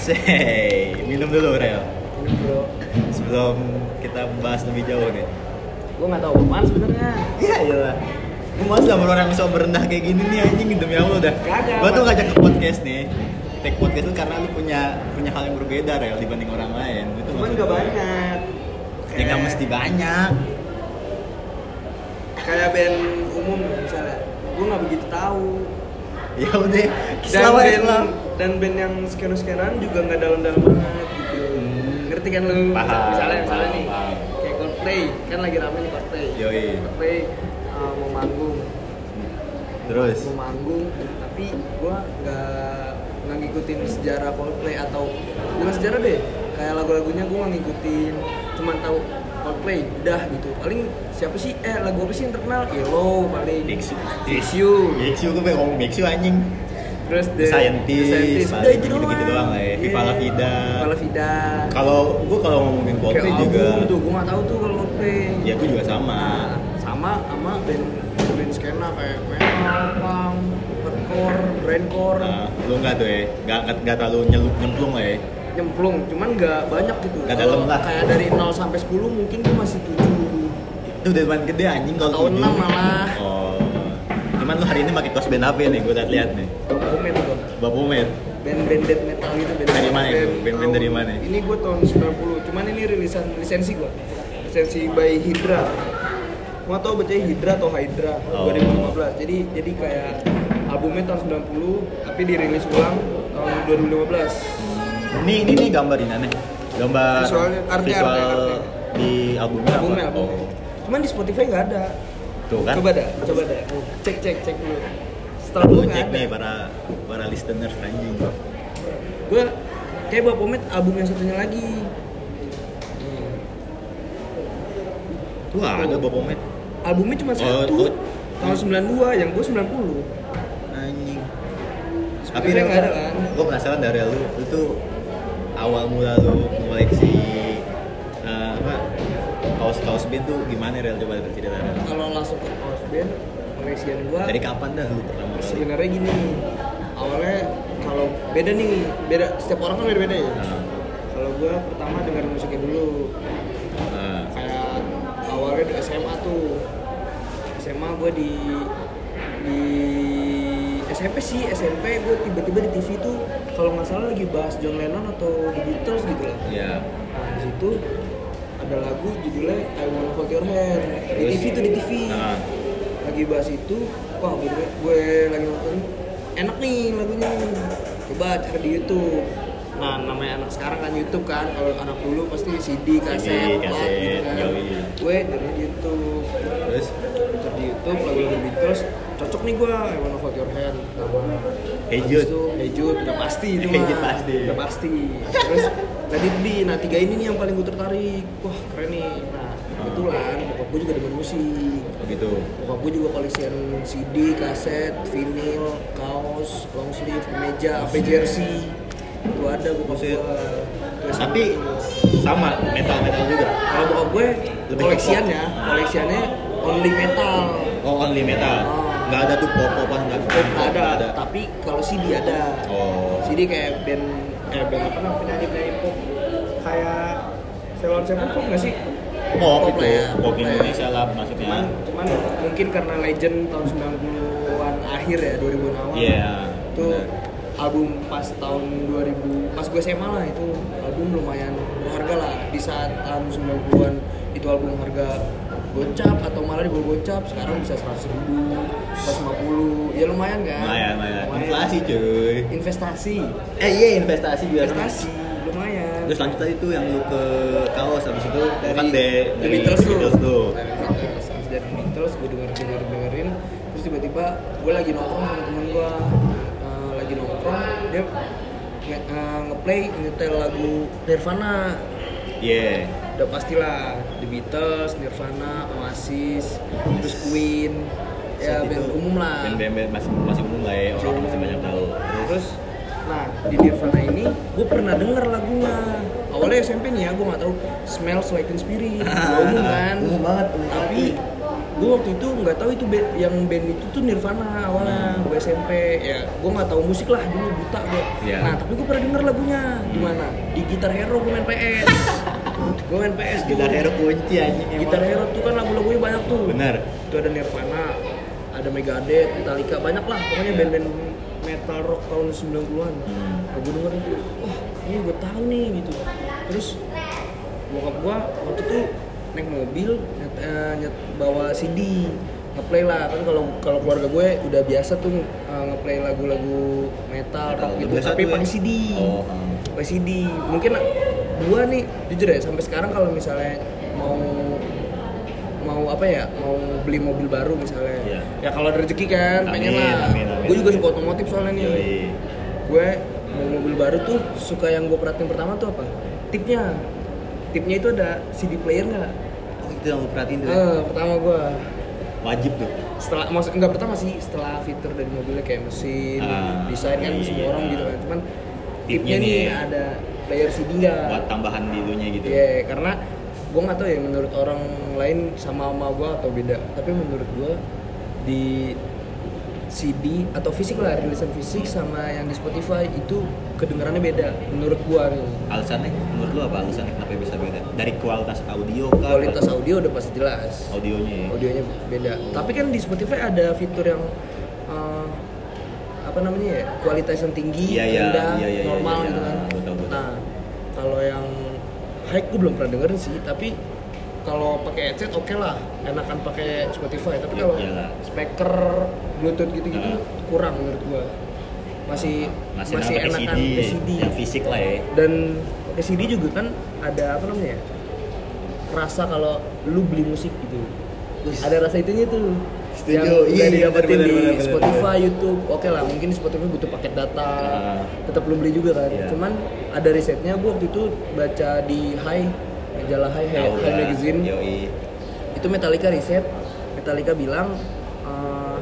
Say, minum dulu Rel. Minum bro. Sebelum kita bahas lebih jauh nih. Gue nggak tahu apaan sebenarnya. Ya iyalah. Gue males sama orang yang sok berendah kayak gini nih anjing demi Allah udah. Kagak, Gue tuh Mas. ngajak ke podcast nih. Take podcast tuh karena lu punya punya hal yang berbeda Rel dibanding orang lain. Itu Cuman maksud nggak gue. banyak. Ya nggak mesti banyak. Kayak band umum misalnya. Gue nggak begitu tahu. Ya udah. Dan Selamat band, Islam. dan band yang skena skenan juga nggak dalam-dalam banget gitu. Hmm. Ngerti kan lu? Paham, Misalnya, misalnya paham, nih. paham. Iya. Kayak Coldplay, kan lagi rame nih Coldplay. Yoi. Coldplay uh, mau manggung, Terus. mau manggung, tapi gue nggak nggak ngikutin sejarah Coldplay atau bukan sejarah deh. Kayak lagu-lagunya gue nggak ngikutin, cuman tahu Coldplay, udah gitu. Paling siapa sih? Eh lagu apa sih yang terkenal? Yellow paling. Biksu. Biksu. Biksu gue pengen ngomong Biksu anjing. Terus The Scientist, paling Udah itu doang. Iya. gitu-gitu doang lah ya. Viva La Vida. Viva La Vida. Kalau gue kalau ngomongin Kayak Coldplay album juga. tuh, gue gak tau tuh kalau Coldplay. Ya gue juga sama. Nah, sama sama band band skena kayak metal, punk, hardcore, grindcore, Nah, lu nggak tuh ya, nggak nggak- nggak terlalu nyelup nyemplung lah ya. nyemplung. Cuman nggak banyak gitu. Nggak Kalau dalam lah. Kayak dari 0 sampai 10 mungkin gue masih 7 Itu udah main gede anjing kalau Tahun tujuh. enam malah. Oh, cuman lu hari ini pakai kaos band apa nih? Gue lihat lihat nih. komen tuh. Bapumet. Band-band death metal gitu band Dari mana band- itu? Band-band dari tahun- mana? Ini gue tahun 90 Cuman ini rilisan lisensi gue Lisensi by Hydra Mau tau bacanya Hydra atau Hydra Oh. 2015 Jadi jadi kayak albumnya tahun 90 Tapi dirilis ulang tahun 2015 Ini ini nih gambar ini Gambar Visualnya, artnya, visual artnya, artnya. di albumnya apa? Albumnya albumnya Oh, Cuman di Spotify nggak ada Tuh kan. Coba dah, coba dah Cek cek cek dulu Setelah Lu gue nggak cek ada nih para para listener anjing. Gue kayak Bapak Met album yang satunya lagi Hmm. Tuh ada Bapumet. Albumnya cuma Oh, satu oh. Tahun 92, yang gue 90 Anjing. Tapi dia nggak ada kan? Gue penasaran dari lu, lu tuh awal mula lu koleksi apa kaos kaos band tuh gimana rel coba cerita Rel. Kalau langsung ke kaos band, koleksian gua Dari kapan dah lu pertama kali? sebenarnya gini. Awalnya kalau beda nih, beda setiap orang kan beda-beda ya. Nah, Kalau gua pertama dengar musiknya dulu, nah, kayak awalnya di SMA tuh. SMA gua di di SMP sih, SMP gua tiba-tiba di TV tuh kalau nggak salah lagi bahas John Lennon atau The Beatles gitu lah. ya Nah, di situ ada lagu judulnya I Wanna Hold Your Hand di Terus? TV tuh di TV Nah. lagi bahas itu wah gue, gue lagi nonton enak nih lagunya coba cari di YouTube nah namanya anak sekarang kan YouTube kan kalau anak dulu pasti CD kaset, kaset, upload gitu kan yoi. gue dari YouTube terus cari di YouTube lagu-lagu Beatles cocok nih gue I Wanna Hold Your Hand pertama Hey Habis Jude. itu, Hey Jude, udah pasti itu Hey mah. Jude pasti. udah pasti terus tadi di nah tiga ini nih yang paling gue tertarik wah keren nih nah kebetulan bokap gue juga demen musik begitu. bokap gue juga koleksian CD kaset vinil kaos long sleeve kemeja apa jersey gue ada bokap gue Buset. Terus- Tapi sama metal metal juga. kalau bokap gue Lebih ke koleksiannya pop. koleksiannya only metal Oh only metal. Oh. Nggak ada tuh pop popan nggak Pop Nggak ada, tapi kalau CD ada. Oh. CD kayak band eh band apa namanya penyanyi penyanyi pop kayak Ceylon Seven pop nggak sih? Iya. Pop Pop lah itu ya, pop pop lah ya. Indonesia lah Cuman maksudnya. cuman mungkin karena legend tahun 90-an akhir ya 2000-an awal. Iya, Itu benar. album pas tahun 2000 pas gue SMA lah itu album lumayan berharga lah di saat tahun 90-an itu album harga gocap atau malah di bawah gocap sekarang bisa 100 ribu 150 ya lumayan kan Lumayan, lumayan. Inflasi cuy. investasi Eh iya investasi biasa. investasi lumayan Terus lanjut tadi tuh yang lu ke kaos habis itu kan de, The Beatles tuh tuh. Dari Beatles. Habis dari Beatles gue denger denger dengerin terus tiba-tiba gue lagi nongkrong sama temen gue Eh, lagi nongkrong dia nge eh, ngeplay nyetel lagu Nirvana Iya. udah pastilah The Beatles, Nirvana, Oasis, terus Queen ya Saat band itu, umum lah Band band, band masih masih umum lah ya, orang masih banyak tahu. Terus, nah di Nirvana ini gue pernah denger lagunya. Awalnya SMP nih ya, gue nggak tahu Smells Like Teen Spirit, Ah, Nggak umum kan. umum banget, umum Tapi gue waktu itu nggak tahu itu band, yang band itu tuh Nirvana Hmm. awalnya gue SMP ya gue nggak tahu musik lah dulu buta gue Iya. nah tapi gue pernah denger lagunya gimana di Gitar Hero gue main PS gue main PS tuh. Gitar Hero kunci anjing emang. Gitar Hero tuh kan lagu-lagunya banyak tuh Benar. itu ada Nirvana ada Megadeth Metallica banyak lah pokoknya Iya. band-band metal rock tahun 90-an Hmm. Nah, gue denger itu wah ini gue tahu nih gitu terus bokap gua waktu itu naik mobil nyet, eh, nyet- bawa CD ngeplay lah kan kalau kalau keluarga gue udah biasa tuh eh, ngeplay lagu-lagu metal rock Metal, gitu biasa tuh tapi ya. pakai CD Oh, ah. pakai CD E mungkin gua nih jujur ya sampai sekarang kalau misalnya mau mau apa ya mau beli mobil baru misalnya Iya. ya kalau ada rezeki kan pengen Amin, lah amin, amin, gue juga amin. suka otomotif soalnya nih Yoi. gue mau mobil baru tuh suka yang gue perhatiin pertama tuh apa tipnya tipnya itu ada CD player nggak Oh, itu yang lu perhatiin tuh. ya? Eh, pertama gue Wajib tuh. setelah maksud nggak pertama sih setelah fitur dari mobilnya kayak mesin Ah, desain kan mesin iya. orang gitu kan cuman Tipnya tipnya nih nih. ada player CD nggak Buat tambahan dilunya gitu. Iya, karena gue nggak tahu ya menurut orang lain sama sama gue atau beda. Tapi menurut gue di CD atau fisik lah rilisan fisik sama yang di Spotify itu kedengarannya beda menurut gue nih. Alasannya menurut lu apa alasannya kenapa bisa beda? Dari kualitas audio kah? Kualitas audio udah pasti jelas, audionya ya. audionya beda. Tapi kan di Spotify ada fitur yang eh, apa namanya ya kualitas yang tinggi, Iya, iya, rendah, iya, iya, iya, normal iya, gitu kan. betul, betul. Nah kalau yang high gue belum pernah dengerin sih, tapi kalau pakai headset oke lah, enakan pakai Spotify. Tapi Iya, kalau iyalah. speaker, bluetooth gitu-gitu Nah. kurang menurut gua. Masih Masih, E enak pakai enakan E CD, pakai CD. yang fisik lah ya. Dan pakai CD juga kan ada apa namanya? ya? Rasa kalau lu beli musik gitu. Ada rasa itunya tuh. Setuju, Yang iya, udah iya, didapetin bener, di bener, bener, Spotify, YouTube. Oke lah, mungkin di Spotify butuh paket data. Ah. Tetap lu beli juga kan. Iya. Cuman ada risetnya gua waktu itu baca di High majalah High, High, Tahu High lah. Magazine. Yoi. Itu Metallica riset. Metallica bilang eh,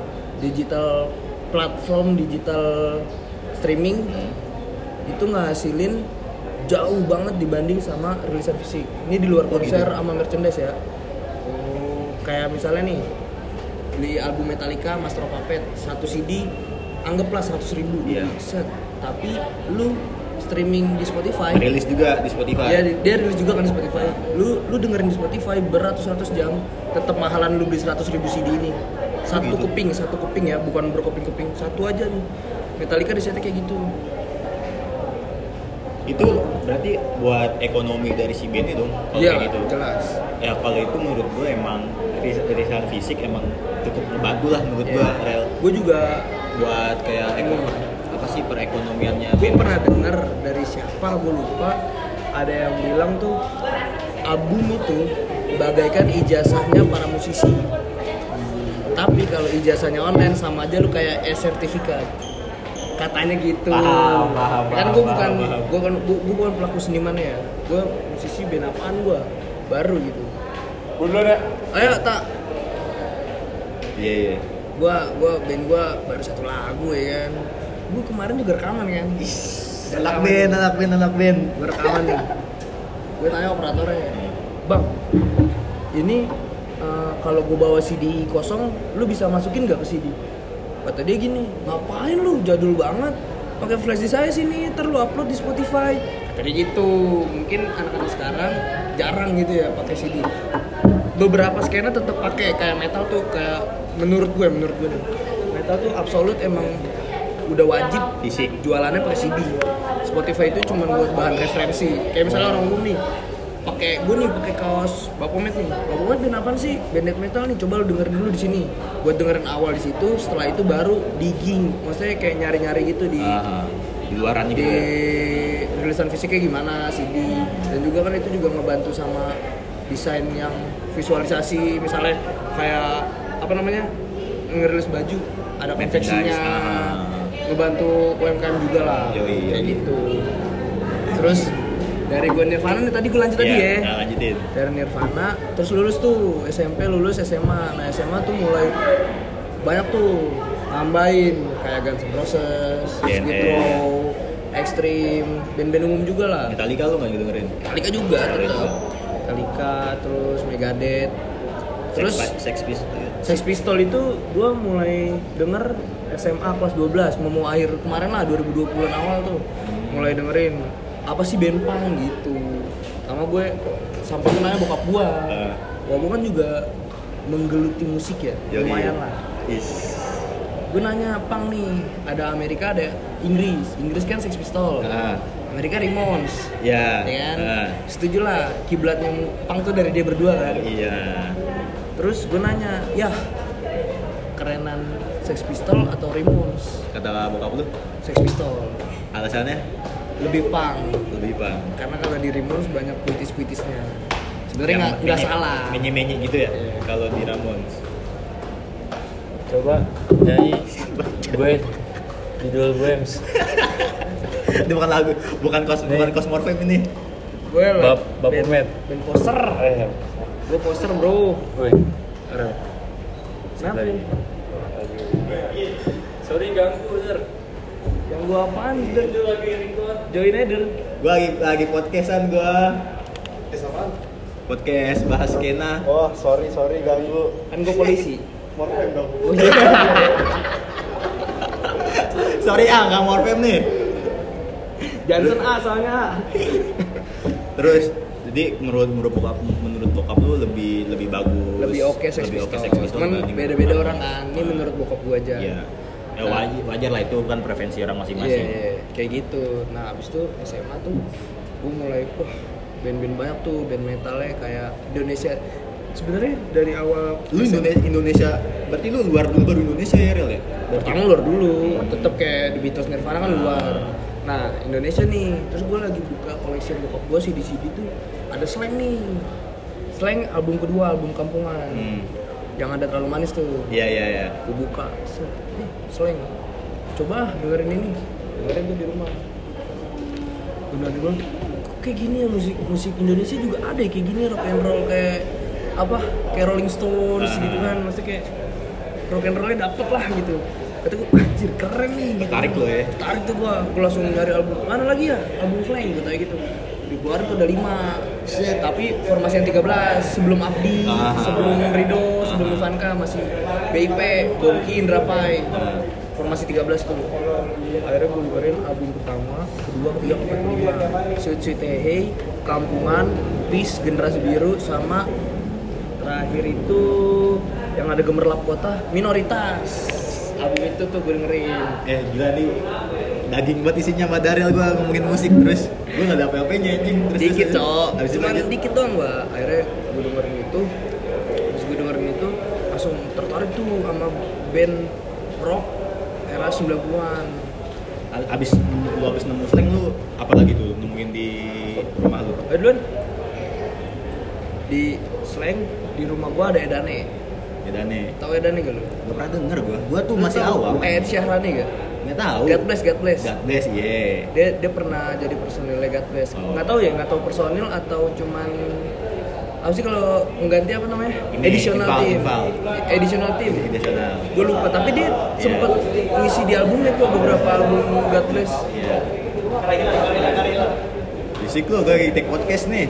digital platform digital streaming Hmm. itu ngasilin jauh banget dibanding sama rilisan fisik. Ini di luar Oh, gitu. konser sama merchandise ya. Oh, kayak misalnya nih beli album Metallica Master of Puppets satu CD anggaplah 100.000 ribu Iya. set tapi lu streaming di Spotify Rilis juga Iya, di Spotify. Ya, di- dia rilis juga kan di Spotify. Lu lu dengerin di Spotify beratus-ratus jam, tetap mahalan lu beli 100 ribu CD ini. Satu Gitu. keping, satu keping ya, bukan berkeping-keping. Satu aja nih. Metallica risetnya kayak gitu. Oh, Itu berarti buat ekonomi dari si band itu dong. Kalau Iya, kayak gitu. jelas. Ya kalau itu menurut gue emang ris- riset fisik emang cukup bagus lah menurut Iya. gue rel Gue juga buat kayak ekon apa sih perekonomiannya gue pernah denger dari siapa gue lupa ada yang bilang tuh album itu bagaikan ijazahnya para musisi tapi kalau ijazahnya online sama aja lu kayak e-sertifikat katanya gitu Paham, paham, kan paham, gue bukan paham, paham. gue kan gue gue bukan pelaku seniman ya gue musisi band apaan gue baru gitu gue dulu deh ayo tak iya iya gua gua band gua baru satu lagu ya kan gua kemarin juga rekaman kan anak band anak band anak band gue rekaman nih gue tanya operatornya bang ini eh, kalau gue bawa CD kosong lu bisa masukin gak ke CD kata dia gini ngapain lu jadul banget pakai flash disk saya sini ntar lu upload di Spotify kata dia gitu mungkin anak-anak sekarang jarang gitu ya pakai CD beberapa skena tetap pakai kayak metal tuh kayak menurut gue menurut gue deh. metal tuh absolut emang udah wajib fisik jualannya pakai CD. Spotify itu cuma buat bahan referensi. Kayak misalnya orang umum nih, pakai gue nih pakai kaos Bapomet nih. Bapomet band apaan sih? Band death metal nih. Coba lu dengerin dulu di sini. Buat dengerin awal di situ, setelah itu baru digging. Maksudnya kayak nyari-nyari gitu di Ah, di luaran gitu di ya. rilisan fisiknya gimana CD dan juga kan itu juga ngebantu sama desain yang visualisasi misalnya kayak apa namanya ngerilis baju ada Merchandise, konveksinya ah. ngebantu UMKM juga lah Yoi, kayak yoi. gitu terus dari gue Nirvana nih tadi gue lanjut tadi Iya, ya nah, lanjutin dari Nirvana terus lulus tuh SMP lulus SMA nah SMA tuh mulai banyak tuh nambahin kayak Guns N' Roses, Skid BNS. Row, Extreme, band-band umum juga lah. Iya. Metallica lu nggak dengerin Metallica juga Metallica tetap. juga. Metallica terus Megadeth Terus- Sex, sex Pistols gitu. Sex Pistol itu gue mulai denger SMA kelas 12 mau akhir kemarin lah 2020-an awal tuh mulai dengerin apa sih band punk gitu sama gue sampai kenalnya bokap gue Eh. bokap gue kan juga menggeluti musik ya Yoi. lumayan lah Is. gue nanya pang nih ada Amerika ada Inggris Inggris kan Sex Pistol Ah, Amerika Ramones ya. ya kan ah, setuju lah kiblatnya pang tuh dari dia berdua kan iya. Terus gue nanya, yah kerenan Sex Pistol atau Ramones? Kata bokap lu, Sex Pistol alasannya lebih pang lebih bang. karena kalau di Ramones banyak puitis-puitisnya. Sebenarnya nggak nggak salah. Menye-menye gitu ya, Iya. kalau di Ramones. Coba nyanyi gue judul gue Ems. Itu bukan lagu, bukan kos, bukan kosmorfem ini. Gue Bap Bap band- Umet. band poster, Eh, gue poster bro. gue. Rel. Kenapa? Dari- Sorry ganggu, Zer. Yang gue apaan? Der? Itu lagi record. Join aja Der. Gua lagi lagi podcastan gua. Podcast apaan? Podcast bahas skena. Oh, sorry, sorry ganggu. Kan gue polisi. Morfem dong. Oh iya. Sorry ah, nggak morfem nih. Johnson A soalnya. A. Terus jadi menurut menurut bokap menurut bokap lu lebih lebih bagus. Lebih oke Sex lebih oke Pistol. Sex Pistols Cuman dibanding- beda-beda orang kan. Ini menurut bokap gue aja. Iya. Ya, wajar, wajar lah itu kan preferensi orang Iya, masing-masing. iya, kayak gitu. Nah, abis itu SMA tuh gue mulai wah band-band banyak tuh band metalnya kayak Indonesia. Sebenarnya dari awal Lu Indonesia, Indonesia berarti lu luar dulu baru Indonesia ya real ya? pertama luar dulu, tetep kayak The Beatles Nirvana kan luar. Nah, Indonesia nih, terus gue lagi buka koleksi bokap gue sih di CD tuh ada slang nih. Slang album kedua, album kampungan. Hmm. Yang ada terlalu manis tuh. Iya iya iya. gue buka set. Eh, slang coba ah, dengerin ini dengerin tuh di rumah bener di rumah kok kayak gini ya musik musik Indonesia juga ada ya kayak gini rock and roll kayak apa kayak Rolling Stones Ah. gitu kan maksudnya kayak rock and rollnya dapet lah gitu kata gue anjir keren nih gitu Tertarik lo ya? tarik tuh gua gua langsung nyari album mana lagi ya album Flying gitu kayak gitu dikeluarin tuh ada lima tapi formasi yang 13 sebelum Abdi Ah. sebelum Rido sebelum Ivanka masih BIP Gongki Indra Pai formasi 13 tuh akhirnya gue dengerin album pertama kedua ketiga keempat kelima Sweet Sweet Hey Hey Kampungan Peace Generasi Biru sama terakhir itu yang ada gemerlap kota minoritas album itu tuh gue dengerin Eh gila nih daging banget isinya sama Daryl gua ngomongin musik terus gua nggak ada apa-apanya anjing terus dikit terus- cok Habis itu cuman lanjut. dikit doang gua akhirnya gue dengerin itu terus gue dengerin itu langsung tertarik tuh sama band rock era 90-an A- abis lu abis nemu slang lu apa lagi tuh nemuin di rumah lu ayo duluan di slang di rumah gua ada Edane bedane tau Edane gak lu? gak pernah denger gua gua tuh masih Lu tau Eh, awam Ed Syahrani gak? nggak tahu God bless, God bless. God bless iya dia dia pernah jadi personil God Bless Oh. nggak tahu ya nggak tahu personil atau cuman apa sih kalau mengganti apa namanya Ini, additional Iqbal, team Iqbal. additional team Jadi nasional gue lupa tapi dia sempet ngisi di albumnya tuh beberapa album God Bless iya Bisik lu, gua lagi take podcast nih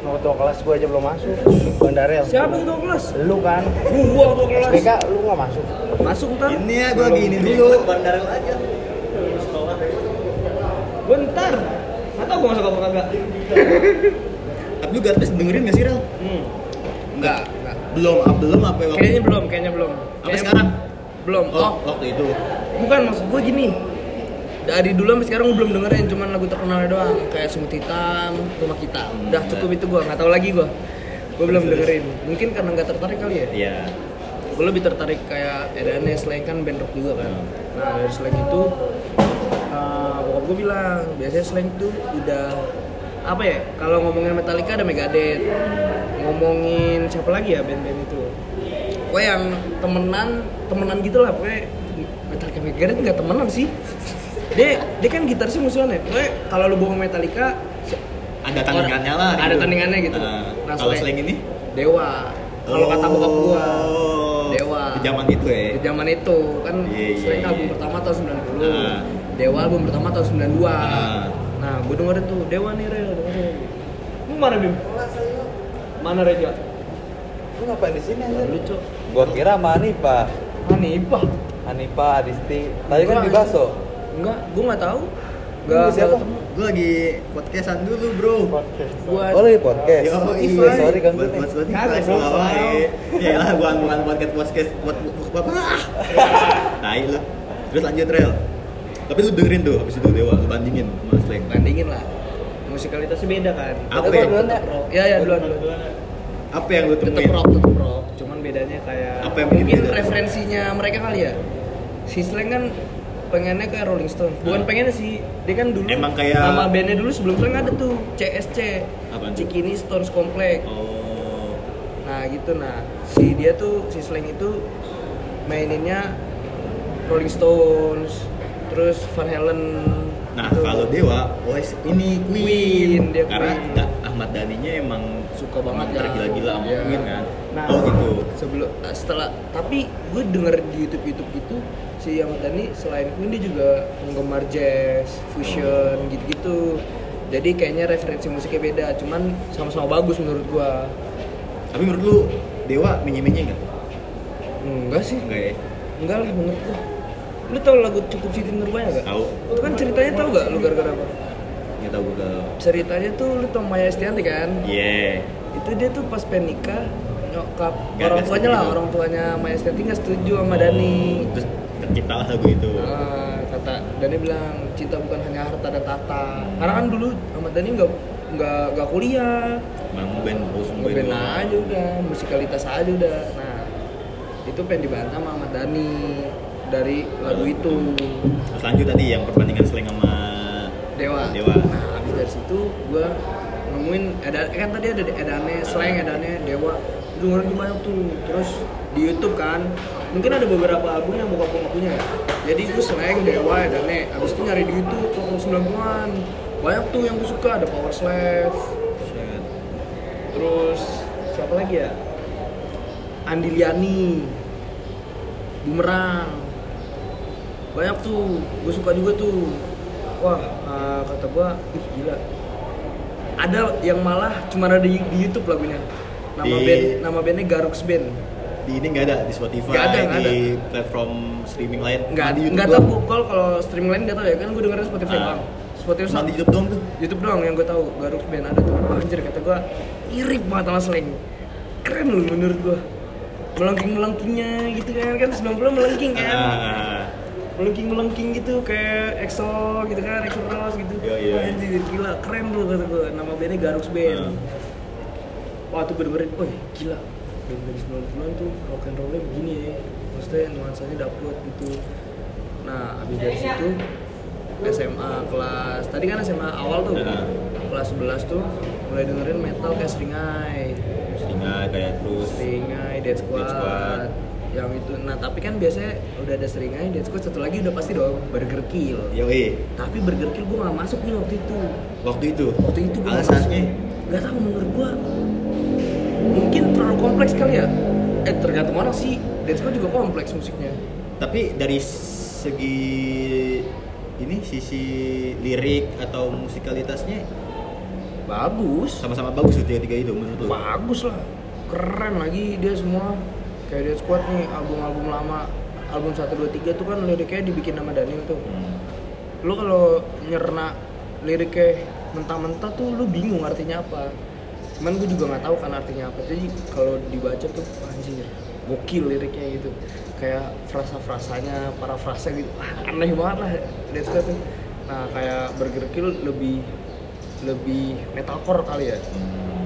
Mau ketua kelas gue aja belum masuk. Bandarel. siapa yang ketua kelas Lu kan. gua ketua kelas SPK lu nggak masuk. masuk ntar Ini ya, gua lagi ini dulu gua ntar nggak tahu gua masuk apa kagak Tapi lu God bless dengerin gak sih, Rel? hmm. nggak nggak Belum, ah, belum apa waktu- kayaknya belum kayaknya belum Apa Kayaknya sekarang? belum Oh, oh waktu itu Bukan maksud gue gini. Dari dulu sampai sekarang gue belum dengerin cuman lagu terkenalnya doang kayak Semut Hitam, Rumah Kita. Udah cukup itu gue nggak tahu lagi gue. Gue belum dengerin. Mungkin karena nggak tertarik kali ya. Iya Gue lebih tertarik kayak Edane Slang kan band rock juga kan. Nah dari Slang itu, eh bokap gue bilang biasanya Slang tuh udah apa ya? Kalau ngomongin Metallica ada Megadeth, ngomongin siapa lagi ya band-band itu? Gue yang temenan, temenan gitu lah. Gue Metallica Megadeth nggak temenan sih. Dia, dia kan gitarisnya musuhan ya. Gue kalau lu bawa Metallica, Ada tandingannya lah Ada gitu. tandingannya gitu. Nah, Nah, Kalau slang- slang ini? Dewa. Kalau kata bokap gua, Oh, Dewa. Di zaman itu ya? di zaman itu kan Iya, iya, sering iya. album pertama tahun 90 Ah. Dewa album pertama tahun 92 Ah. nah gue dengerin tuh Dewa nih Rel dengerin. lu mana Bim? mana Reja? Lu ngapain di sini Nah, anjir? Lu cok. Gua kira sama Hanifa. Hanifah Hanifa Adisti. Tadi kan Bukan. di Baso. enggak gue nggak tahu Lu siapa? Gue lagi podcastan dulu bro. buat Oh, lagi podcast. Yo, Iya, sorry ganggu buat nih. buat podcast Kagak, lah, bro. wae. Ya lah, bukan bukan podcast podcast buat buat ah. Tai lu. Terus lanjut rel. Tapi lu dengerin tuh habis itu Dewa, lu bandingin sama Slang. bandingin lah musikalitasnya beda kan Apa Gua yang duluan ya? rock ya ya duluan duluan apa yang lu tetep temuin? rock tetep rock cuman bedanya kayak Apa yang bikin mungkin beda? referensinya mereka kali ya si Slank kan pengennya kayak Rolling Stone bukan pengennya sih dia kan dulu Nah. Emang kayak- nama bandnya dulu sebelum Slank ada tuh CSC Apaan tuh? Cikini Stones Complex Oh. nah gitu nah si dia tuh si Slank itu maininnya Rolling Stones terus Van Halen Nah, gitu. kalau Dewa, Oasis ini Queen. Queen, dia Karena Queen. Da- Ahmad Dhani-nya emang Suka emang banget ya. tergila-gila sama Iya. Queen kan. Nah. oh gitu. sebelum setelah tapi gue denger di YouTube YouTube itu si Ahmad Dhani selain Queen dia juga penggemar jazz, fusion gitu-gitu. Jadi kayaknya referensi musiknya beda, cuman sama-sama bagus menurut gua. Tapi menurut lu Dewa menye-menye enggak? Enggak sih, Enggak ya? enggak lah menurut gua. Lu tau lagu Cukup Siti Nurbaya gak? Tahu. Itu kan ceritanya tau gak lu gara-gara apa? Enggak tahu gue kalau. Ceritanya tuh lu tau Maya Estianti kan? Yeah. itu dia tuh pas pengen nikah nyokap Nggak orang ada tuanya lah setuju. orang tuanya Maya Estianti nggak setuju sama Dani Oh, Terus terciptalah lagu itu. Ah, kata Dani bilang cinta bukan hanya harta dan tahta karena kan dulu Ahmad Dhani nggak nggak nggak kuliah Emang ngeband, terus ngeband aja udah musikalitas aja udah nah itu pengen dibantah sama Ahmad Dhani dari lagu itu Terus lanjut tadi yang perbandingan slang sama Dewa. Dewa. Nah, habis dari situ gua nemuin ada kan tadi ada edane, slang edane Dewa. Itu orang tuh banyak tuh. Terus di YouTube kan mungkin ada beberapa album yang bokap gua nggak punya ya. Jadi gua slang Dewa edane. Habis itu nyari di YouTube tahun 90-an. Banyak tuh yang gua suka ada Power Slave. Terus siapa lagi ya? Andiliani. Bumerang banyak tuh gue suka juga tuh wah eh, kata gue ih gila ada yang malah cuma ada di, di YouTube lagunya nama Di- band nama bandnya Garux Band Di ini nggak ada di Spotify, Nggak ada, nggak di platform streaming lain. nggak Cuma di YouTube nggak tahu doang. gua- kalau kalau stream lain nggak tahu ya kan gue dengerin Spotify Ah. doang Spotify Cuma di YouTube doang tuh. YouTube doang yang gue tahu Garux Band ada tuh Wah, anjir kata gue mirip banget sama Slang keren loh menurut gue melengking melengkingnya gitu kan kan 90 melengking kan Ah. melengking melengking gitu kayak EXO gitu kan EXO Rose gitu Iya, iya. Wah, anjir, gila keren bro kata gue nama bandnya Garux Band Hmm. wah tuh bener-bener oh gila band-band 90-an tuh rock and rollnya begini ya maksudnya nuansanya dapet gitu nah abis dari situ SMA kelas tadi kan SMA awal tuh Iya. kelas 11 tuh mulai dengerin metal kayak Seringai Seringai kayak terus. Seringai, Dead Squad, Dead Squad. yang itu nah tapi kan biasanya udah ada Seringai, Dead Squad satu lagi udah pasti dong Burger Kill Yoi. tapi Burger Kill gue gak masuk nih waktu itu Waktu itu. waktu itu gua alasannya nggak- nggak tahu menurut gua mungkin terlalu kompleks kali ya eh tergantung orang sih Dead Squad juga kompleks musiknya tapi dari segi ini sisi lirik atau musikalitasnya bagus sama-sama bagus tuh tiga-tiga itu menurut lu bagus lah keren lagi dia semua kayak Dead Squad nih album-album lama album 1, 2, 3 tuh kan liriknya dibikin sama Daniel tuh Hmm. lu kalau nyerna liriknya mentah-mentah tuh lu bingung artinya apa cuman gue juga nggak tahu kan artinya apa jadi kalau dibaca tuh anjir gokil liriknya gitu kayak frasa-frasanya para frasa gitu Wah, aneh banget lah Dead Squad tuh nah kayak Burger Kill lebih lebih metalcore kali ya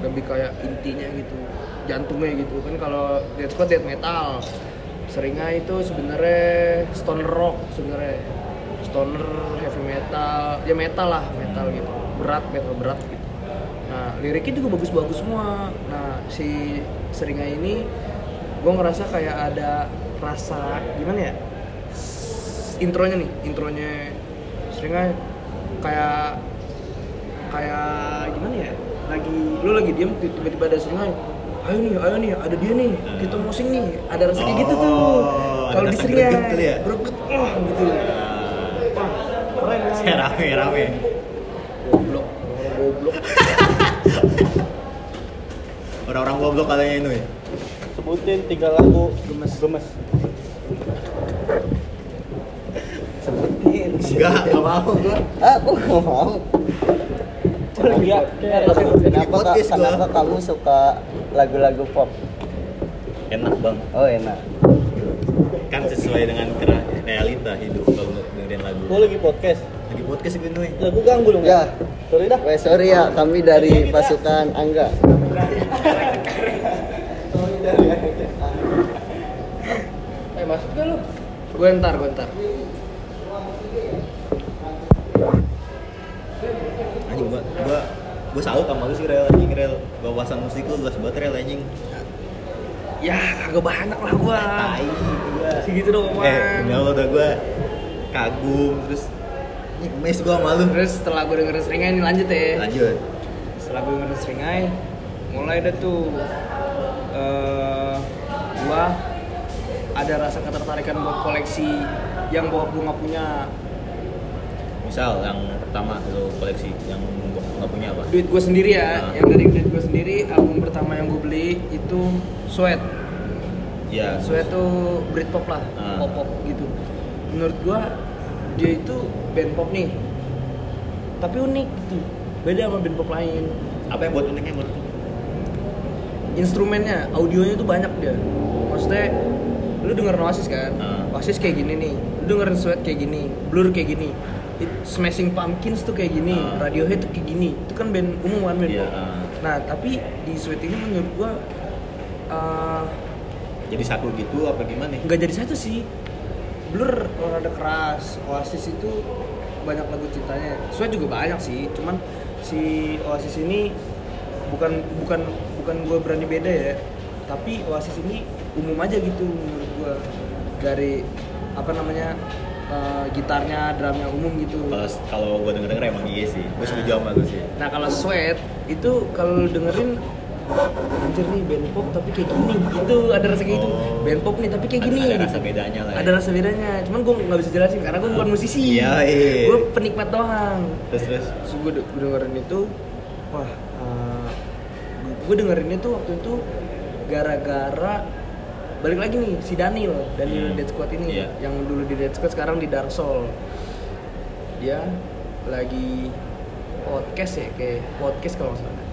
lebih kayak intinya gitu jantungnya gitu kan kalau Dead Squad death metal seringnya itu sebenarnya stoner rock sebenarnya stoner heavy metal ya metal lah metal gitu berat metal berat gitu nah liriknya juga bagus-bagus semua nah si seringnya ini gue ngerasa kayak ada rasa gimana ya S- intronya nih intronya seringnya kayak kayak gimana ya lagi lu lagi diem tiba-tiba ada sungai ayo nih ayo nih ada dia nih kita mau sing nih ada rasa kayak gitu tuh Oh, ada kalau di rasa seringai greget gitu ya? greget, wah, gitu wah keren kan? Saya rame rame goblok goblok orang-orang goblok katanya itu ya sebutin tiga lagu gemes gemes sebutin Enggak, enggak mau gua. aku nggak mau Iya, kenapa kak podcast gua. kenapa kamu suka lagu-lagu pop Enak, Bang. oh enak Kan sesuai dengan kera- realita hidup kalau dengerin lagu. lu lagi podcast Lagi podcast gue Noy. lagu ganggu lu ya sorry dah Iya. weh sorry ya kami dari pasukan angga Eh masuk gak lu? Gue ntar, gue ntar. Anjing gua gua gua salut sama lu sih rel anjing rel. Wawasan musik lu luas banget rel anjing. Ya kagak banyak lah gua. Eh, Tai gua. Segitu dong Eh, demi omongan. Allah dah gua kagum terus ini mes gua sama lu. Terus setelah gue dengerin seringai ini lanjut ya. Lanjut. setelah gue ngerti seringai mulai deh tuh eh gua ada rasa ketertarikan buat koleksi yang gua gua nggak punya Misal yang pertama lu koleksi yang gua nggak punya apa? duit gue sendiri ya Ah. yang dari duit gue sendiri album pertama yang gue beli itu Sweat Iya. Sweat tuh Britpop lah Ah. pop pop gitu menurut gua dia itu band pop nih tapi unik gitu beda sama band pop lain Apa yang buat uniknya menurut lu? instrumennya, audionya tuh banyak dia. Maksudnya lu denger Oasis kan? Ah. Oasis kayak gini nih. Lu dengerin Sweat kayak gini, Blur kayak gini. It- Smashing Pumpkins tuh kayak gini, Ah. Radiohead tuh kayak gini. Itu kan band umum kan band Iya, pop. ah. Nah, tapi di Sweat ini menurut gua eh, Jadi satu gitu apa gimana? nggak jadi satu sih. Blur rada keras, Oasis itu banyak lagu cintanya. Sweat juga banyak sih, cuman si Oasis ini bukan bukan bukan gue berani beda ya, tapi Oasis ini umum aja gitu menurut gue dari apa namanya eh, gitarnya, drumnya umum gitu. Kalau kalau gue denger denger emang iya sih. Gue setuju sama lu sih. Nah kalau Sweat itu kalau lu dengerin anjir nih band pop tapi kayak gini itu ada rasa kayak gitu Oh. band pop nih tapi kayak Ada- gini Ada gitu rasa bedanya lah. ya. ada rasa bedanya cuman gue nggak bisa jelasin karena gue bukan musisi Iya, iya. gue penikmat doang Terus terus. terus gue dengerin itu wah gue dengerin itu waktu itu gara-gara balik lagi nih si Daniel Daniel Hmm. Dead Squad ini Iya. yang dulu di Dead Squad sekarang di Dark Soul dia lagi podcast ya kayak podcast kalau nggak salah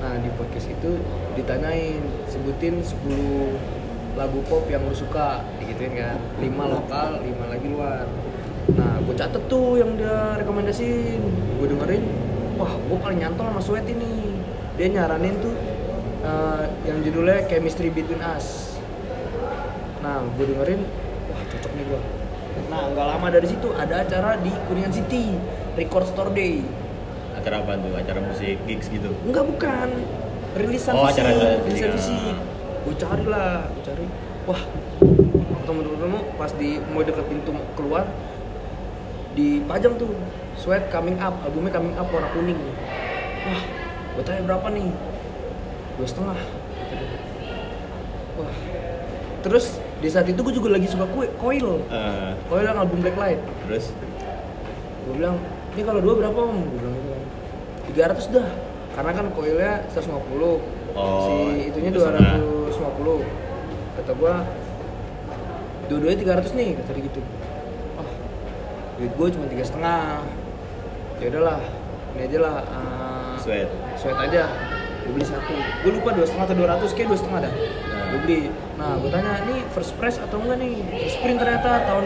nah di podcast itu ditanyain sebutin 10 lagu pop yang lu suka gituin kan 5 lokal 5 lagi luar nah gue catet tuh yang dia rekomendasiin gue dengerin wah gue paling nyantol sama Sweat ini dia nyaranin tuh eh, yang judulnya Chemistry Between Us Nah, gue dengerin, wah cocok nih gue. Nah, nggak lama dari situ ada acara di Kuningan City, Record Store Day. Acara apa tuh? Acara musik gigs gitu. Enggak bukan, rilisan Oh, fisik, acara rilisan rilisan fisik, fisik. ah. Gue cari lah, gue cari. Wah, temen-temen pas di mau deket pintu keluar, di pajang tuh Sweat Coming Up, albumnya Coming Up warna kuning. Wah, gue tanya berapa nih? Dua setengah. kata dia. Wah, terus di saat itu gue juga lagi suka kue, koil. Eh, Koil yang Oh, iya, album Blacklight. terus Ah. Gue bilang, ini kalau dua berapa om? Gue bilang gitu. 300 dah. Karena kan koilnya 150. Oh, si itunya itu 250. Kata gua dua-duanya 300 nih, kata dia gitu. Ah, duit gua cuma tiga setengah. Ya udahlah, ini aja lah. ah, sweat. sweat aja gue beli satu gue lupa dua setengah atau dua ratus kayak dua setengah dah Nah. gue beli nah gue tanya ini first press atau enggak nih first print ternyata tahun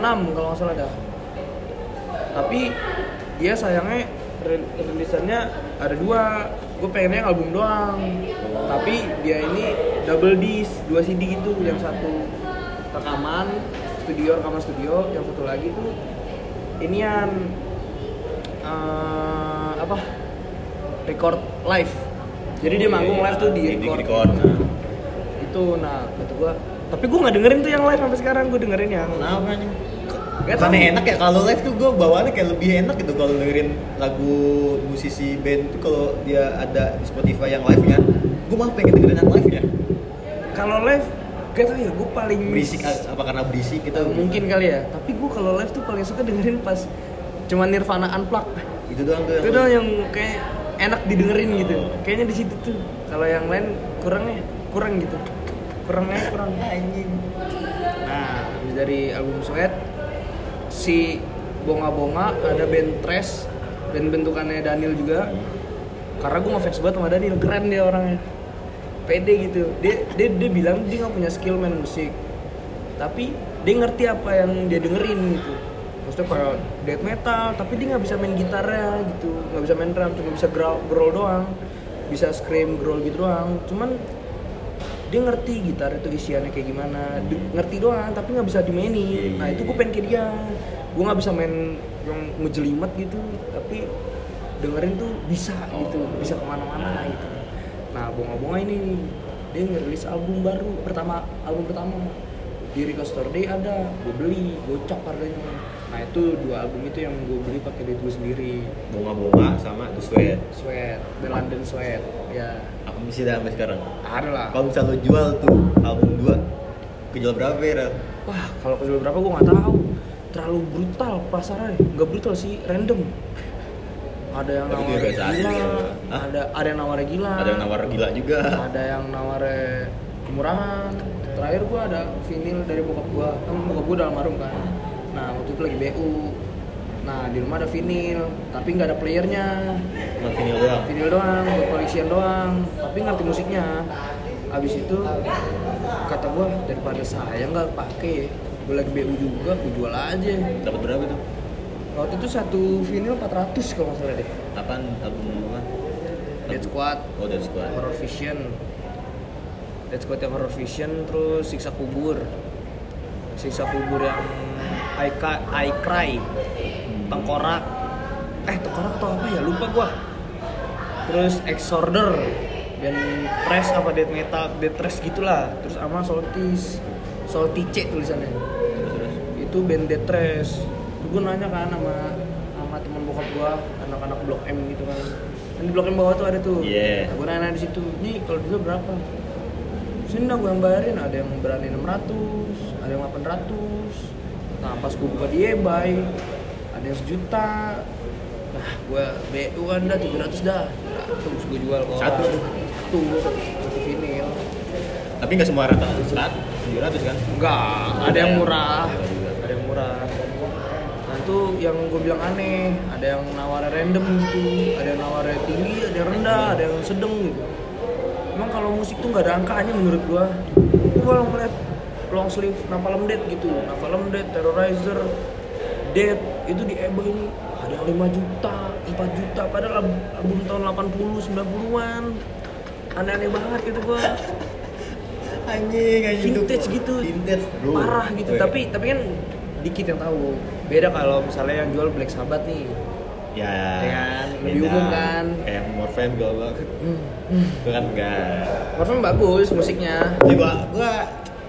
96 kalau nggak salah dah tapi dia sayangnya ril- rilisannya ada dua gue pengennya yang album doang tapi dia ini double disc dua CD gitu yang satu rekaman studio rekaman studio yang satu lagi tuh inian eh, apa record live jadi dia manggung live tuh di Di record, record. Nah. itu nah kata gua tapi gua nggak dengerin tuh yang live sampai sekarang gua dengerin yang Kenapa anjing? Gak Karena tahu. enak ya kalau live tuh gue bawaannya kayak lebih enak gitu kalau dengerin lagu musisi band tuh kalau dia ada di Spotify yang live nya gue malah pengen dengerin yang live nya kalau live gak tau ya gua paling berisik apa karena berisik kita gitu Hmm. kan. mungkin kali ya tapi gua kalau live tuh paling suka dengerin pas cuman Nirvana unplugged itu doang tuh itu ya. doang yang kayak enak didengerin gitu Oh. kayaknya di situ tuh kalau yang lain kurang ya kurang gitu kurang aja kurang anjing nah habis dari album Sweat si Bonga Bonga ada band Trash band bentukannya Daniel juga karena gue ngefans banget sama Daniel keren dia orangnya pede gitu dia dia, dia bilang dia nggak punya skill main musik tapi dia ngerti apa yang dia dengerin gitu maksudnya kalau death metal tapi dia nggak bisa main gitarnya gitu nggak bisa main drum cuma bisa growl, growl doang bisa scream growl gitu doang cuman dia ngerti gitar itu isiannya kayak gimana Di- ngerti doang tapi nggak bisa dimainin nah itu gue pengen kayak dia gue nggak bisa main yang ngejelimet gitu tapi dengerin tuh bisa gitu bisa kemana-mana gitu nah bonga-bonga ini dia ngerilis album baru pertama album pertama di Rico Store Day ada gue beli gocap harganya nah itu dua album itu yang gue beli pakai duit gue sendiri Bunga-bunga sama The Sweat. Sweat The London Sweat ya Apa misi dah sampai sekarang? ada lah Kalau misalnya lo jual tuh album 2 kejual berapa ya? Rel? Wah, kalau kejual berapa gue nggak tahu. Terlalu brutal pasarnya. Nggak brutal sih, random. Ada yang Tapi nawar dia biasa aja gila, sih. Hah? ada ada yang nawar gila. Ada yang nawar gila juga. Ada yang nawar kemurahan. Terakhir gue ada vinyl dari bokap gue. Kan bokap gue dalam harum kan. Nah, waktu itu lagi BU. Nah, di rumah ada vinyl, tapi nggak ada playernya. Cuma vinyl doang. Vinyl doang, buat koleksian doang, tapi ngerti musiknya. Abis itu kata gua daripada saya nggak pakai, gue lagi BU juga, gue jual aja. Dapat berapa tuh? Waktu itu satu vinyl 400 kalau nggak salah deh. Apaan album bunga? Dead Squad, Oh, Dead Squad. Horror Vision, Dead Squad yang Horror Vision, terus Siksa Kubur, Siksa Kubur yang I, Ca- I Cry, Tengkorak, eh Tengkorak atau apa ya lupa gua. Terus Exorder, dan Trash apa Death Metal, Death Trash gitulah. Terus sama Soltis, Soltice tulisannya. Terus terus. Itu band Death Trash. Gue nanya kan sama sama teman bokap gua, anak-anak Blok M gitu kan. Dan di Blok M bawah tuh ada tuh. Iya. Gue nanya di situ, nih kalau dulu berapa? Sini gue yang bayarin, ada yang berani 600, ada yang 800 Nah pas gue buka di eBay, ada yang sejuta Nah gue BU kan dah 700 dah Nah, Terus gue jual ke Satu orang. tuh. Satu, satu vinyl Tapi nggak semua rata serat, 700 kan? Enggak, ada yang murah Ada yang murah Nah itu yang gue bilang aneh Ada yang nawarnya random gitu Ada yang nawarnya tinggi, ada yang rendah, ada yang sedang gitu Emang kalau musik tuh nggak ada angkaannya menurut gua Gua kalau ngeliat long sleeve Napalm Dead gitu Napalm Dead, Terrorizer, Dead Itu di eBay ini ada yang 5 juta, 4 juta Padahal al- album tahun 80, 90-an Aneh-aneh banget gitu gua Anjing, anjing. vintage gitu Vintage, bro. parah gitu Weh. tapi tapi kan dikit yang tahu beda kalau misalnya yang jual Black Sabbath nih ya, Ya kan? Lebih beda. umum kan? Kayak Morfem gua gua hmm. Itu kan enggak. Warframe bagus musiknya Ya gua gua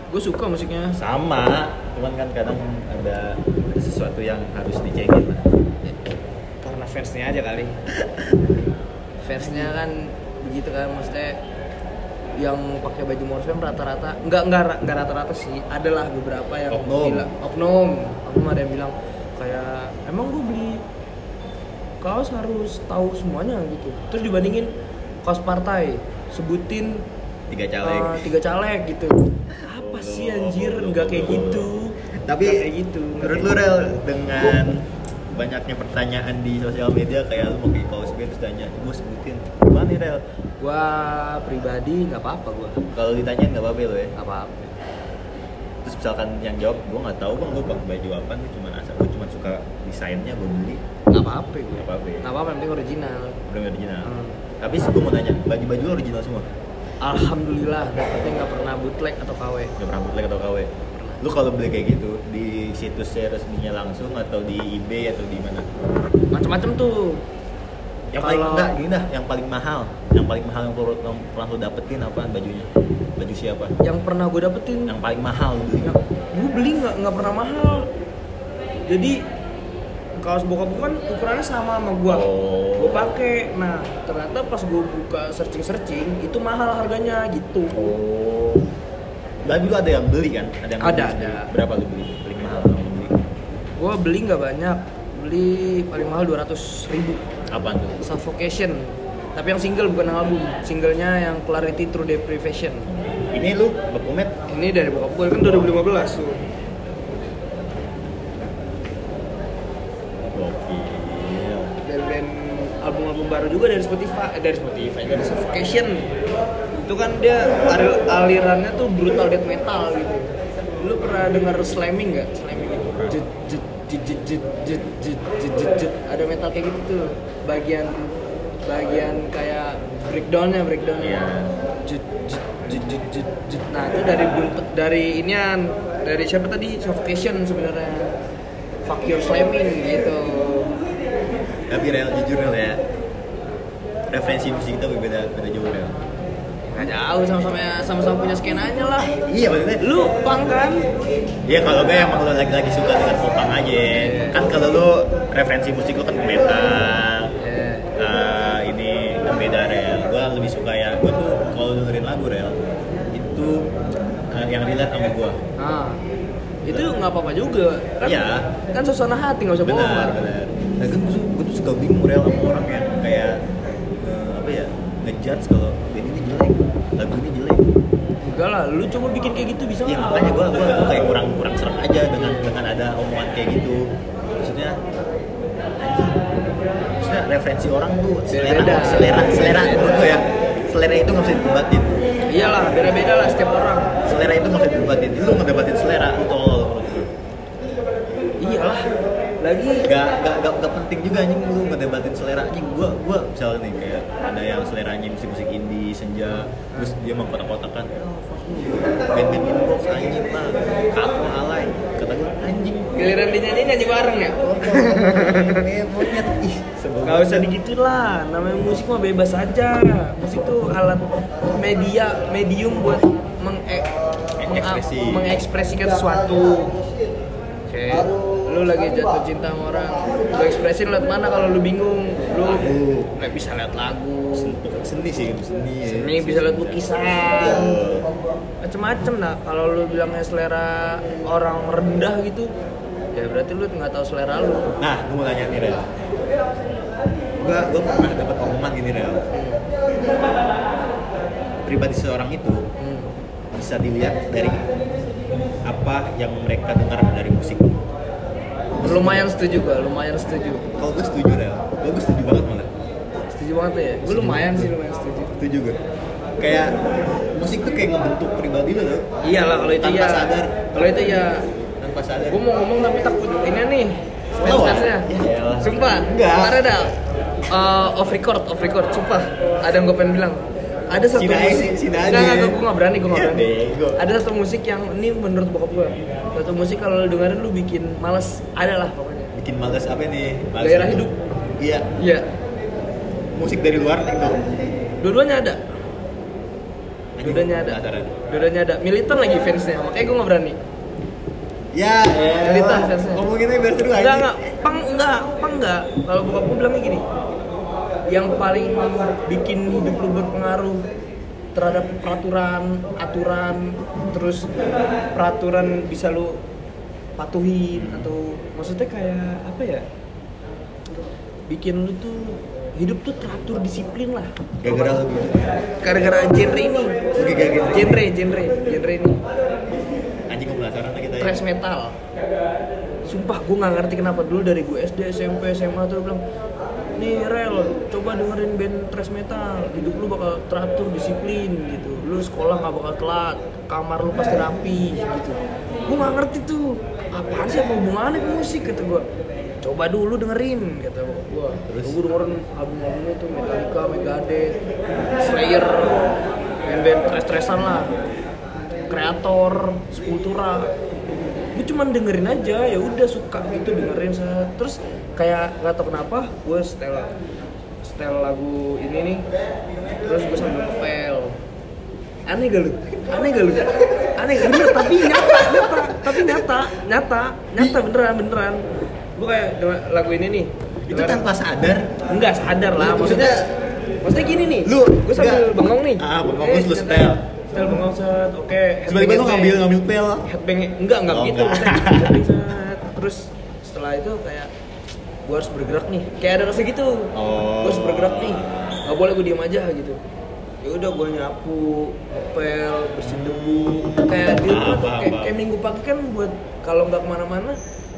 gue suka musiknya sama, cuman kan kadang ada ada sesuatu yang harus dicengin lah. karena fansnya aja kali fansnya kan begitu kan maksudnya yang pakai baju Morfem rata-rata nggak nggak ra- nggak rata-rata sih adalah beberapa yang Oknum. bilang oknum oknum ada yang bilang kayak emang gue beli kaos harus tahu semuanya gitu terus dibandingin kaos partai sebutin Tiga caleg. eh, tiga caleg gitu apa sih anjir nggak kayak gitu Tapi Nggak kayak gitu nggak menurut lu kayak Rel gitu. dengan banyaknya pertanyaan di sosial media kayak lu mau ke kaos gue terus tanya, "Gua sebutin." Gimana nih Rel? gua pribadi nggak apa-apa gua Kalau ditanya nggak apa-apa lo ya. nggak apa-apa Terus misalkan yang jawab, "Gua nggak tahu, Bang, gua pakai baju apa, gua cuma asal gua cuma suka desainnya, gua beli." nggak apa-apa gue Nggak apa-apa ya? nggak apa-apa yang penting original Belum original. Hmm. Tapi gue mau nanya, baju-baju lu original semua? alhamdulillah dapetnya nggak pernah bootleg atau KW Gak pernah bootleg atau KW? Lu kalau beli kayak gitu, di situs resminya langsung atau di eBay atau di mana? macam-macam tuh Yang paling Kalau- enggak, gini dah, yang paling mahal Yang paling mahal yang perlu, yang pernah lu dapetin apaan bajunya? Baju siapa? yang pernah gue dapetin Yang paling mahal lu beli gue beli nggak nggak pernah mahal jadi kaos bokap gue kan ukurannya sama sama gue Oh. gue pakai nah ternyata pas gue buka searching searching itu mahal harganya gitu Oh Tapi lu ada yang beli kan? Ada yang Ada, beli ada. Berapa lu beli? Paling mahal yang lu beli gue beli nggak banyak beli paling mahal 200 ribu Apaan tuh? Suffocation tapi yang single bukan yang album singlenya yang Clarity Through Deprivation ini lu dokumen Ini dari bokap gue kan 2015 tuh. gokil dan band album-album baru juga dari Spotify eh, dari Spotify dari Suffocation itu kan dia al- alirannya tuh brutal death metal gitu lu pernah dengar slamming nggak slamming itu kan? jet jet jet jet jet jet jet jet jet jet. ada metal kayak gitu tuh bagian bagian kayak breakdownnya breakdownnya Iya. jet jet jet jet jet jet. nah itu dari bentuk- dari inian dari siapa tadi Suffocation sebenarnya fuck your slamming gitu tapi real jujur Rel, ya referensi musik kita berbeda beda jauh real Nggak jauh sama-sama ya, sama-sama punya skenanya lah. iya maksudnya Lu pang kan? Iya kalau gue emang lo lagi-lagi suka dengan popang aja Kan kalau lo referensi musik lo kan ke metal eh, Ini kan beda rel Gue lebih suka ya Gue tuh kalau dengerin lagu rel Itu eh, yang relate sama gue Nah, itu nggak apa-apa juga. Kan, Iya. Kan suasana hati nggak usah bohong. Benar, benar Nah kan gue, su- gue tuh suka bingung rel sama orang yang kayak eh, Apa ya Ngejudge kalau band ini jelek Lagu ini jelek Enggak lah, lu coba bikin kayak gitu bisa Iya nggak? makanya gue gua, gua kayak kurang kurang serem aja dengan dengan ada omongan kayak gitu. Maksudnya maksudnya referensi orang tuh selera Beda-beda. selera selera menurut gua ya selera itu nggak bisa didebatin Iyalah, beda-beda lah setiap orang. selera itu nggak bisa didebatin lu ngedebatin selera lu tolol Iyalah. Lagi gak, gak, gak, gak penting juga anjing lu ngedebatin selera anjing gua gua misalnya nih kayak ada yang seleranya musik musik indie senja terus dia mengkotak-kotakan oh, fuck you. band-band inbox anjing lah kaku alay kata gua anjing giliran dinyanyi nyanyi bareng ya. Eh, monyet ih Gak usah digituin lah, namanya musik mah bebas aja. Musik tuh alat media, medium buat menge- Ekspresi. menga- mengekspresikan sesuatu. Oke, lu lagi jatuh cinta sama orang, lu ekspresin lewat mana kalau lu bingung? Lu nggak bisa lihat lagu, Bukan seni sih seni ya. seni bisa lihat lukisan, macem-macem lah. Kalau lu bilangnya selera orang rendah gitu, ya berarti lu nggak tahu selera lu. nah gue mau tanya nih Rel gua gua pernah dapat omongan gini Rel pribadi seorang itu Hmm. bisa dilihat dari apa yang mereka dengar dari musik Lumayan setuju gua, lumayan setuju. kalau gue setuju Rel kalau gue setuju banget malah Setuju banget tuh ya? Gue lumayan sih lumayan setuju setuju gue kayak musik tuh kayak ngebentuk pribadi lo loh Iya lah kalau itu Tanpa ya sadar. Kalau itu ya tanpa sadar Gue mau ngomong tapi takut ini nih Slow, ah? Stance-nya Ya elah. Sumpah Enggak. Kemarin ada eh, Off record, off record Sumpah Ada yang gue pengen bilang ada satu Sini aja, musik sini aja. Enggak, enggak, gue gak berani, gue gak Ya, berani bego. Ada satu musik yang, ini menurut bokap gue Satu musik kalau lu dengerin lu bikin males Ada lah pokoknya bikin males apa nih Males Gairah hidup. iya Iya musik dari luar itu Dua-duanya ada Dua-duanya ada Dua-duanya ada Militan lagi fansnya, makanya gue gak berani Ya, Cerita, cerita serius. Ngomonginnya biar seru aja. Enggak, enggak, pang enggak, pang enggak. Kalau bokap gue bilangnya gini, yang paling bikin hidup lu berpengaruh terhadap peraturan, aturan, terus peraturan bisa lu patuhin atau maksudnya kayak apa ya? Bikin lu tuh hidup tuh teratur disiplin lah. Gara-gara lu gitu. Gara-gara genre ini, gara-gara genre. genre, genre, genre ini, Anjing gue penasaran lagi tadi. thrash metal. Sumpah gue nggak ngerti kenapa dulu dari gue SD, SMP, SMA tuh bilang Nih Rel, coba dengerin band thrash metal Hidup lu bakal teratur, disiplin gitu Lu sekolah nggak bakal telat, kamar lu pasti rapi gitu Gue nggak ngerti tuh, apaan sih apa hubungannya ke musik kata gue Coba dulu dengerin kata gue Terus gue dengerin album-albumnya tuh Metallica, Megadeth, Slayer Band-band thrash-thrashan lah Kreator, Sepultura gue cuman dengerin aja ya udah suka gitu dengerin sa- terus kayak nggak tau kenapa gue setel setel lagu ini nih terus gue sambil ngepel aneh gak lu aneh gak lu aneh gak bener tapi nyata nyata tapi nyata nyata nyata beneran beneran gue kayak denger lagu ini nih Itu dengerin. tanpa sadar. enggak sadar lah Lu maksudnya maksudnya gini nih Lu, gue sambil enggak. bengong nih Ah, bengong, terus lu setel. setel bengong set oke Tiba-tiba lu headbang, ngambil headbang ngambil pel. headbang enggak enggak Oh, gitu enggak. Headbang, set. terus setelah itu kayak gue harus bergerak nih kayak ada rasa gitu Oh. gue harus bergerak nih nggak boleh gue diem aja gitu ya ya udah gue nyapu ngepel bersihin debu kayak di rumah Apa, kayak, apa. kayak minggu pagi kan buat kalau nggak kemana-mana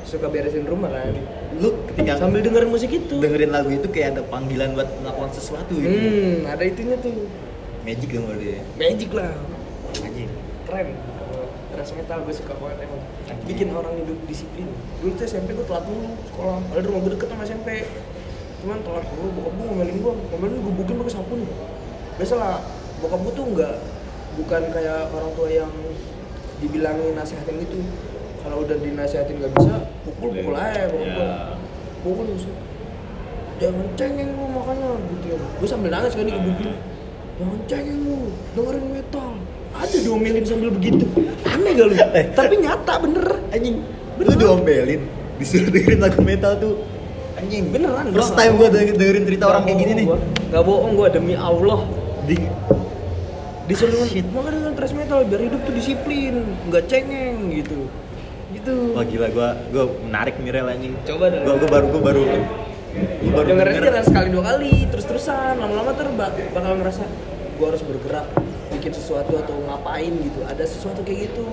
suka beresin rumah kan lu ketika sambil dengerin musik itu dengerin lagu itu kayak ada panggilan buat melakukan sesuatu gitu. hmm ada itunya tuh Magic dong kalau dia. magic lah Anjing. keren Thrash metal gue suka banget emang bikin orang hidup disiplin dulu tuh SMP gue telat dulu sekolah ada rumah gue deket sama SMP cuman telat dulu bokap gue ngomelin gue ngomelin gue bukin pakai sabun biasalah bokap gue tuh nggak bukan kayak orang tua yang dibilangin nasihatin gitu kalau udah dinasehatin nggak bisa pukul pukul aja bokap gue Ya. pukul musuh jangan cengeng lu makanya gitu ya gue sambil nangis kan di kebun tuh jangan cengeng lu dengerin metal ada diomelin sambil begitu aneh gak lu Eh. tapi nyata bener Anjing. Lu diomelin disuruh dengerin lagu metal tuh. Anjing. Beneran, First gua time nggak- gua denger- dengerin cerita orang kayak gini nih. Gak bohong gua demi Allah. Di disuruh makanya dengan thrash metal biar hidup tuh disiplin nggak cengeng gitu gitu Wah gila gua gua menarik nih rel anjing. Coba dong. Gua gua baru gua baru gua baru dengerin denger. aja sekali dua kali terus terusan lama lama ter ba- bakal ngerasa gue harus bergerak bikin sesuatu atau ngapain gitu ada sesuatu kayak gitu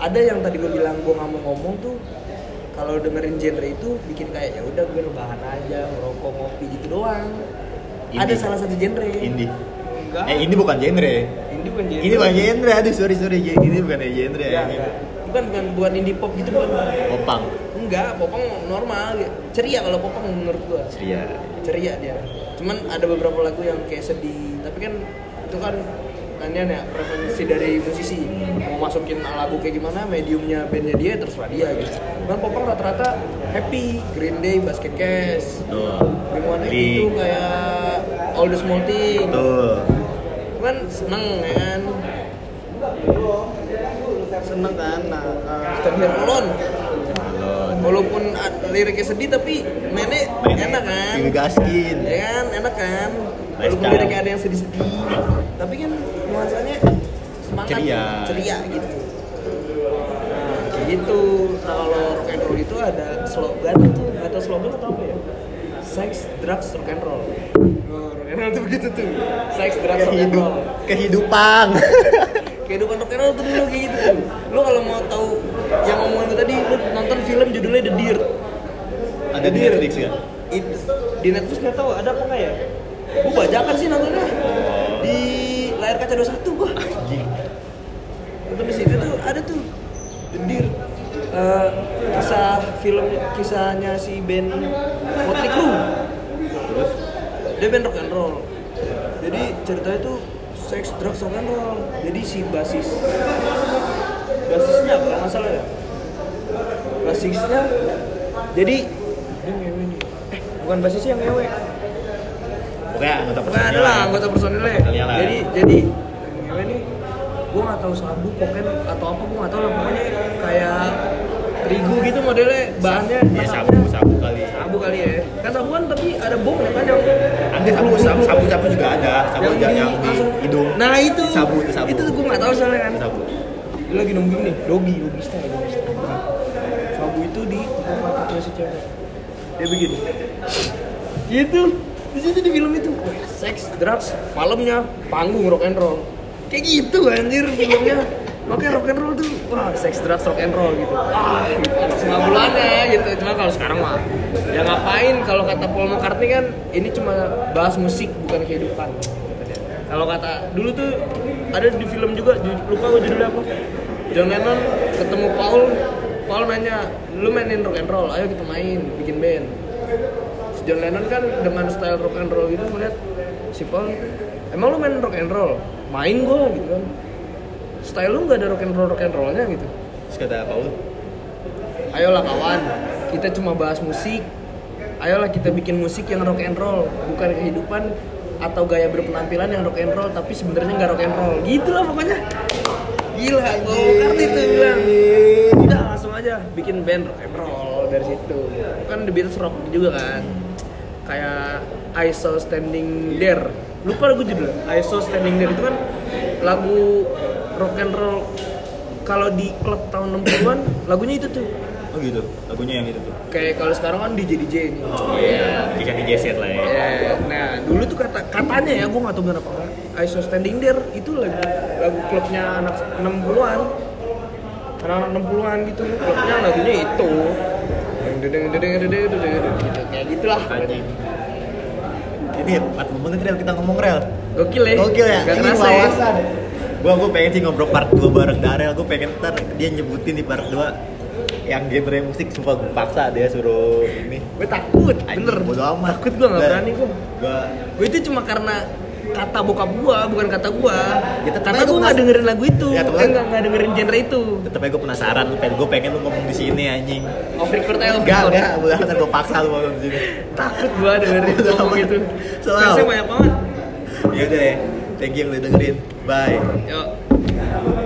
ada yang tadi gue bilang gue nggak mau ngomong tuh kalau dengerin genre itu bikin kayak ya udah gue rebahan aja ngerokok ngopi gitu doang Indie. ada salah satu genre Indie. enggak Eh ini bukan genre. Indie bukan genre Ini bukan genre. Iya, Aduh sorry sorry ini bukan genre. Enggak, enggak. bukan bukan bukan indie pop gitu bukan Popang. enggak popong normal ceria kalau popong menurut gue Ceria. ceria dia cuman ada beberapa lagu yang kayak sedih tapi kan itu kan nantian ya preferensi dari musisi mau masukin lagu kayak gimana mediumnya bandnya dia terserah dia gitu kan popang rata-rata happy Green Day Basket Case Tuh. Blink One Blink. itu kayak All the Small Things Tuh. kan seneng ya kan seneng kan nah eh, Stand Here Alone Halo. walaupun ad- liriknya sedih tapi mainnya enak kan Digaskin. ya kan enak kan Nice kan? walaupun job. liriknya ada yang sedih-sedih tapi kan nuansanya semangat Ceria. ceria gitu nah kayak gitu nah, kalau rock and roll itu ada slogan tuh atau slogan atau apa ya sex drugs rock and roll Oh, rock and roll tuh begitu tuh sex drugs rock and Kehidup roll kehidupan. kehidupan rock and roll tuh dulu kayak gitu tuh lo kalau mau tahu yang ngomongin gue tadi lo nonton film judulnya The Deer Ada di Netflix ya? itu di Netflix nggak tahu ada apa nggak ya gue bajakan sih nontonnya Oh. di layar kaca 21 gua nonton di situ tuh ada tuh dedir eh kisah film kisahnya si band Motley Crue Terus dia band rock and roll jadi ceritanya tuh sex drugs rock and roll jadi si basis basisnya kalau nggak salah ya basisnya jadi dia ngewe nih eh bukan basisnya yang ngewe pokoknya anggota Iya, Nggak ada lah anggota personilnya. Personilnya lah. Jadi jadi cewek nih gue nggak tahu sabu kokain atau apa gue nggak tahu lah pokoknya kayak terigu gitu modelnya bahannya Ya masaknya sabu sabu kali. sabu kali ya kan sabuan tapi ada bom ya kan yang Ada sabu sabu sabu, sabu juga ada. Sabu yang, yang, di langsung- hidung. nah itu Sabu, itu sabu. itu gue nggak tahu soalnya kan sabu. Dia lagi nungguin nih dogi dogi style dogi style sabu itu di tempatnya si cewek dia begini itu di situ di film itu Wah, seks drugs malamnya panggung rock and roll kayak gitu anjir filmnya makanya rock and roll tuh wah seks drugs rock and roll gitu ah sembilan bulan ya gitu cuma kalau sekarang mah ya ngapain kalau kata Paul McCartney kan ini cuma bahas musik bukan kehidupan kalau kata dulu tuh ada di film juga ju- lupa gue judulnya apa John Lennon ketemu Paul Paul nanya lu mainin rock and roll ayo kita main bikin band Si John Lennon kan dengan style rock and roll gitu ngeliat si Paul emang lu main rock and roll main gua gitu kan style lu nggak ada rock and roll rock and rollnya gitu Terus kata Paul, ayolah kawan kita cuma bahas musik ayolah kita bikin musik yang rock and roll bukan kehidupan atau gaya berpenampilan yang rock and roll tapi sebenarnya nggak rock and roll gitulah pokoknya gila gue ngerti tuh bilang udah langsung aja bikin band rock and roll dari situ kan The Beatles rock juga kan kayak I Saw Standing There lupa lagu judulnya I Saw Standing There itu kan lagu rock and roll kalau di klub tahun 60-an lagunya itu tuh oh gitu. Lagunya yang itu tuh. kayak kalau sekarang kan DJ DJ ini. Oh iya, bisa di jaset lah ya. Ya, nah dulu tuh kata katanya ya gue nggak tahu benar apa enggak. I saw standing there itu lagu lagu klubnya anak 60-an. Anak-anak 60-an gitu klubnya lagunya itu. Yang dedeng dedeng dedeng dedeng dedeng, gitu kayak gitulah. Anjing. Ini 40 menit Rel, kita ngomong rel. Gokil ya. Gokil ya. Gak Ini kerasa ya. wawasan. Gua gua pengen sih ngobrol part 2 bareng Darel. Gua pengen ntar dia nyebutin di part 2 yang genre musik sumpah gua paksa dia suruh ini. Gue takut, Anjing, bener. Bodo amat. Takut gue nggak Udah. berani gue. Gua Gue itu cuma karena kata bokap gua bukan kata gua Ya, tetep karena aja gua Gitu. gua nggak pas- dengerin lagu itu Ya, ya, tetep aja. nggak nggak dengerin genre itu tetep aja gua penasaran. Lu pengen gua pengen lu ngomong di sini anjing. off record aja off Enggak, record. enggak. Udah ntar gua paksa lu ngomong di sini. takut gua dengerin Bodo ngomong amat. gitu Selalu. Fansnya banyak banget Ya udah deh. Thank you yang udah dengerin. Bye. yuk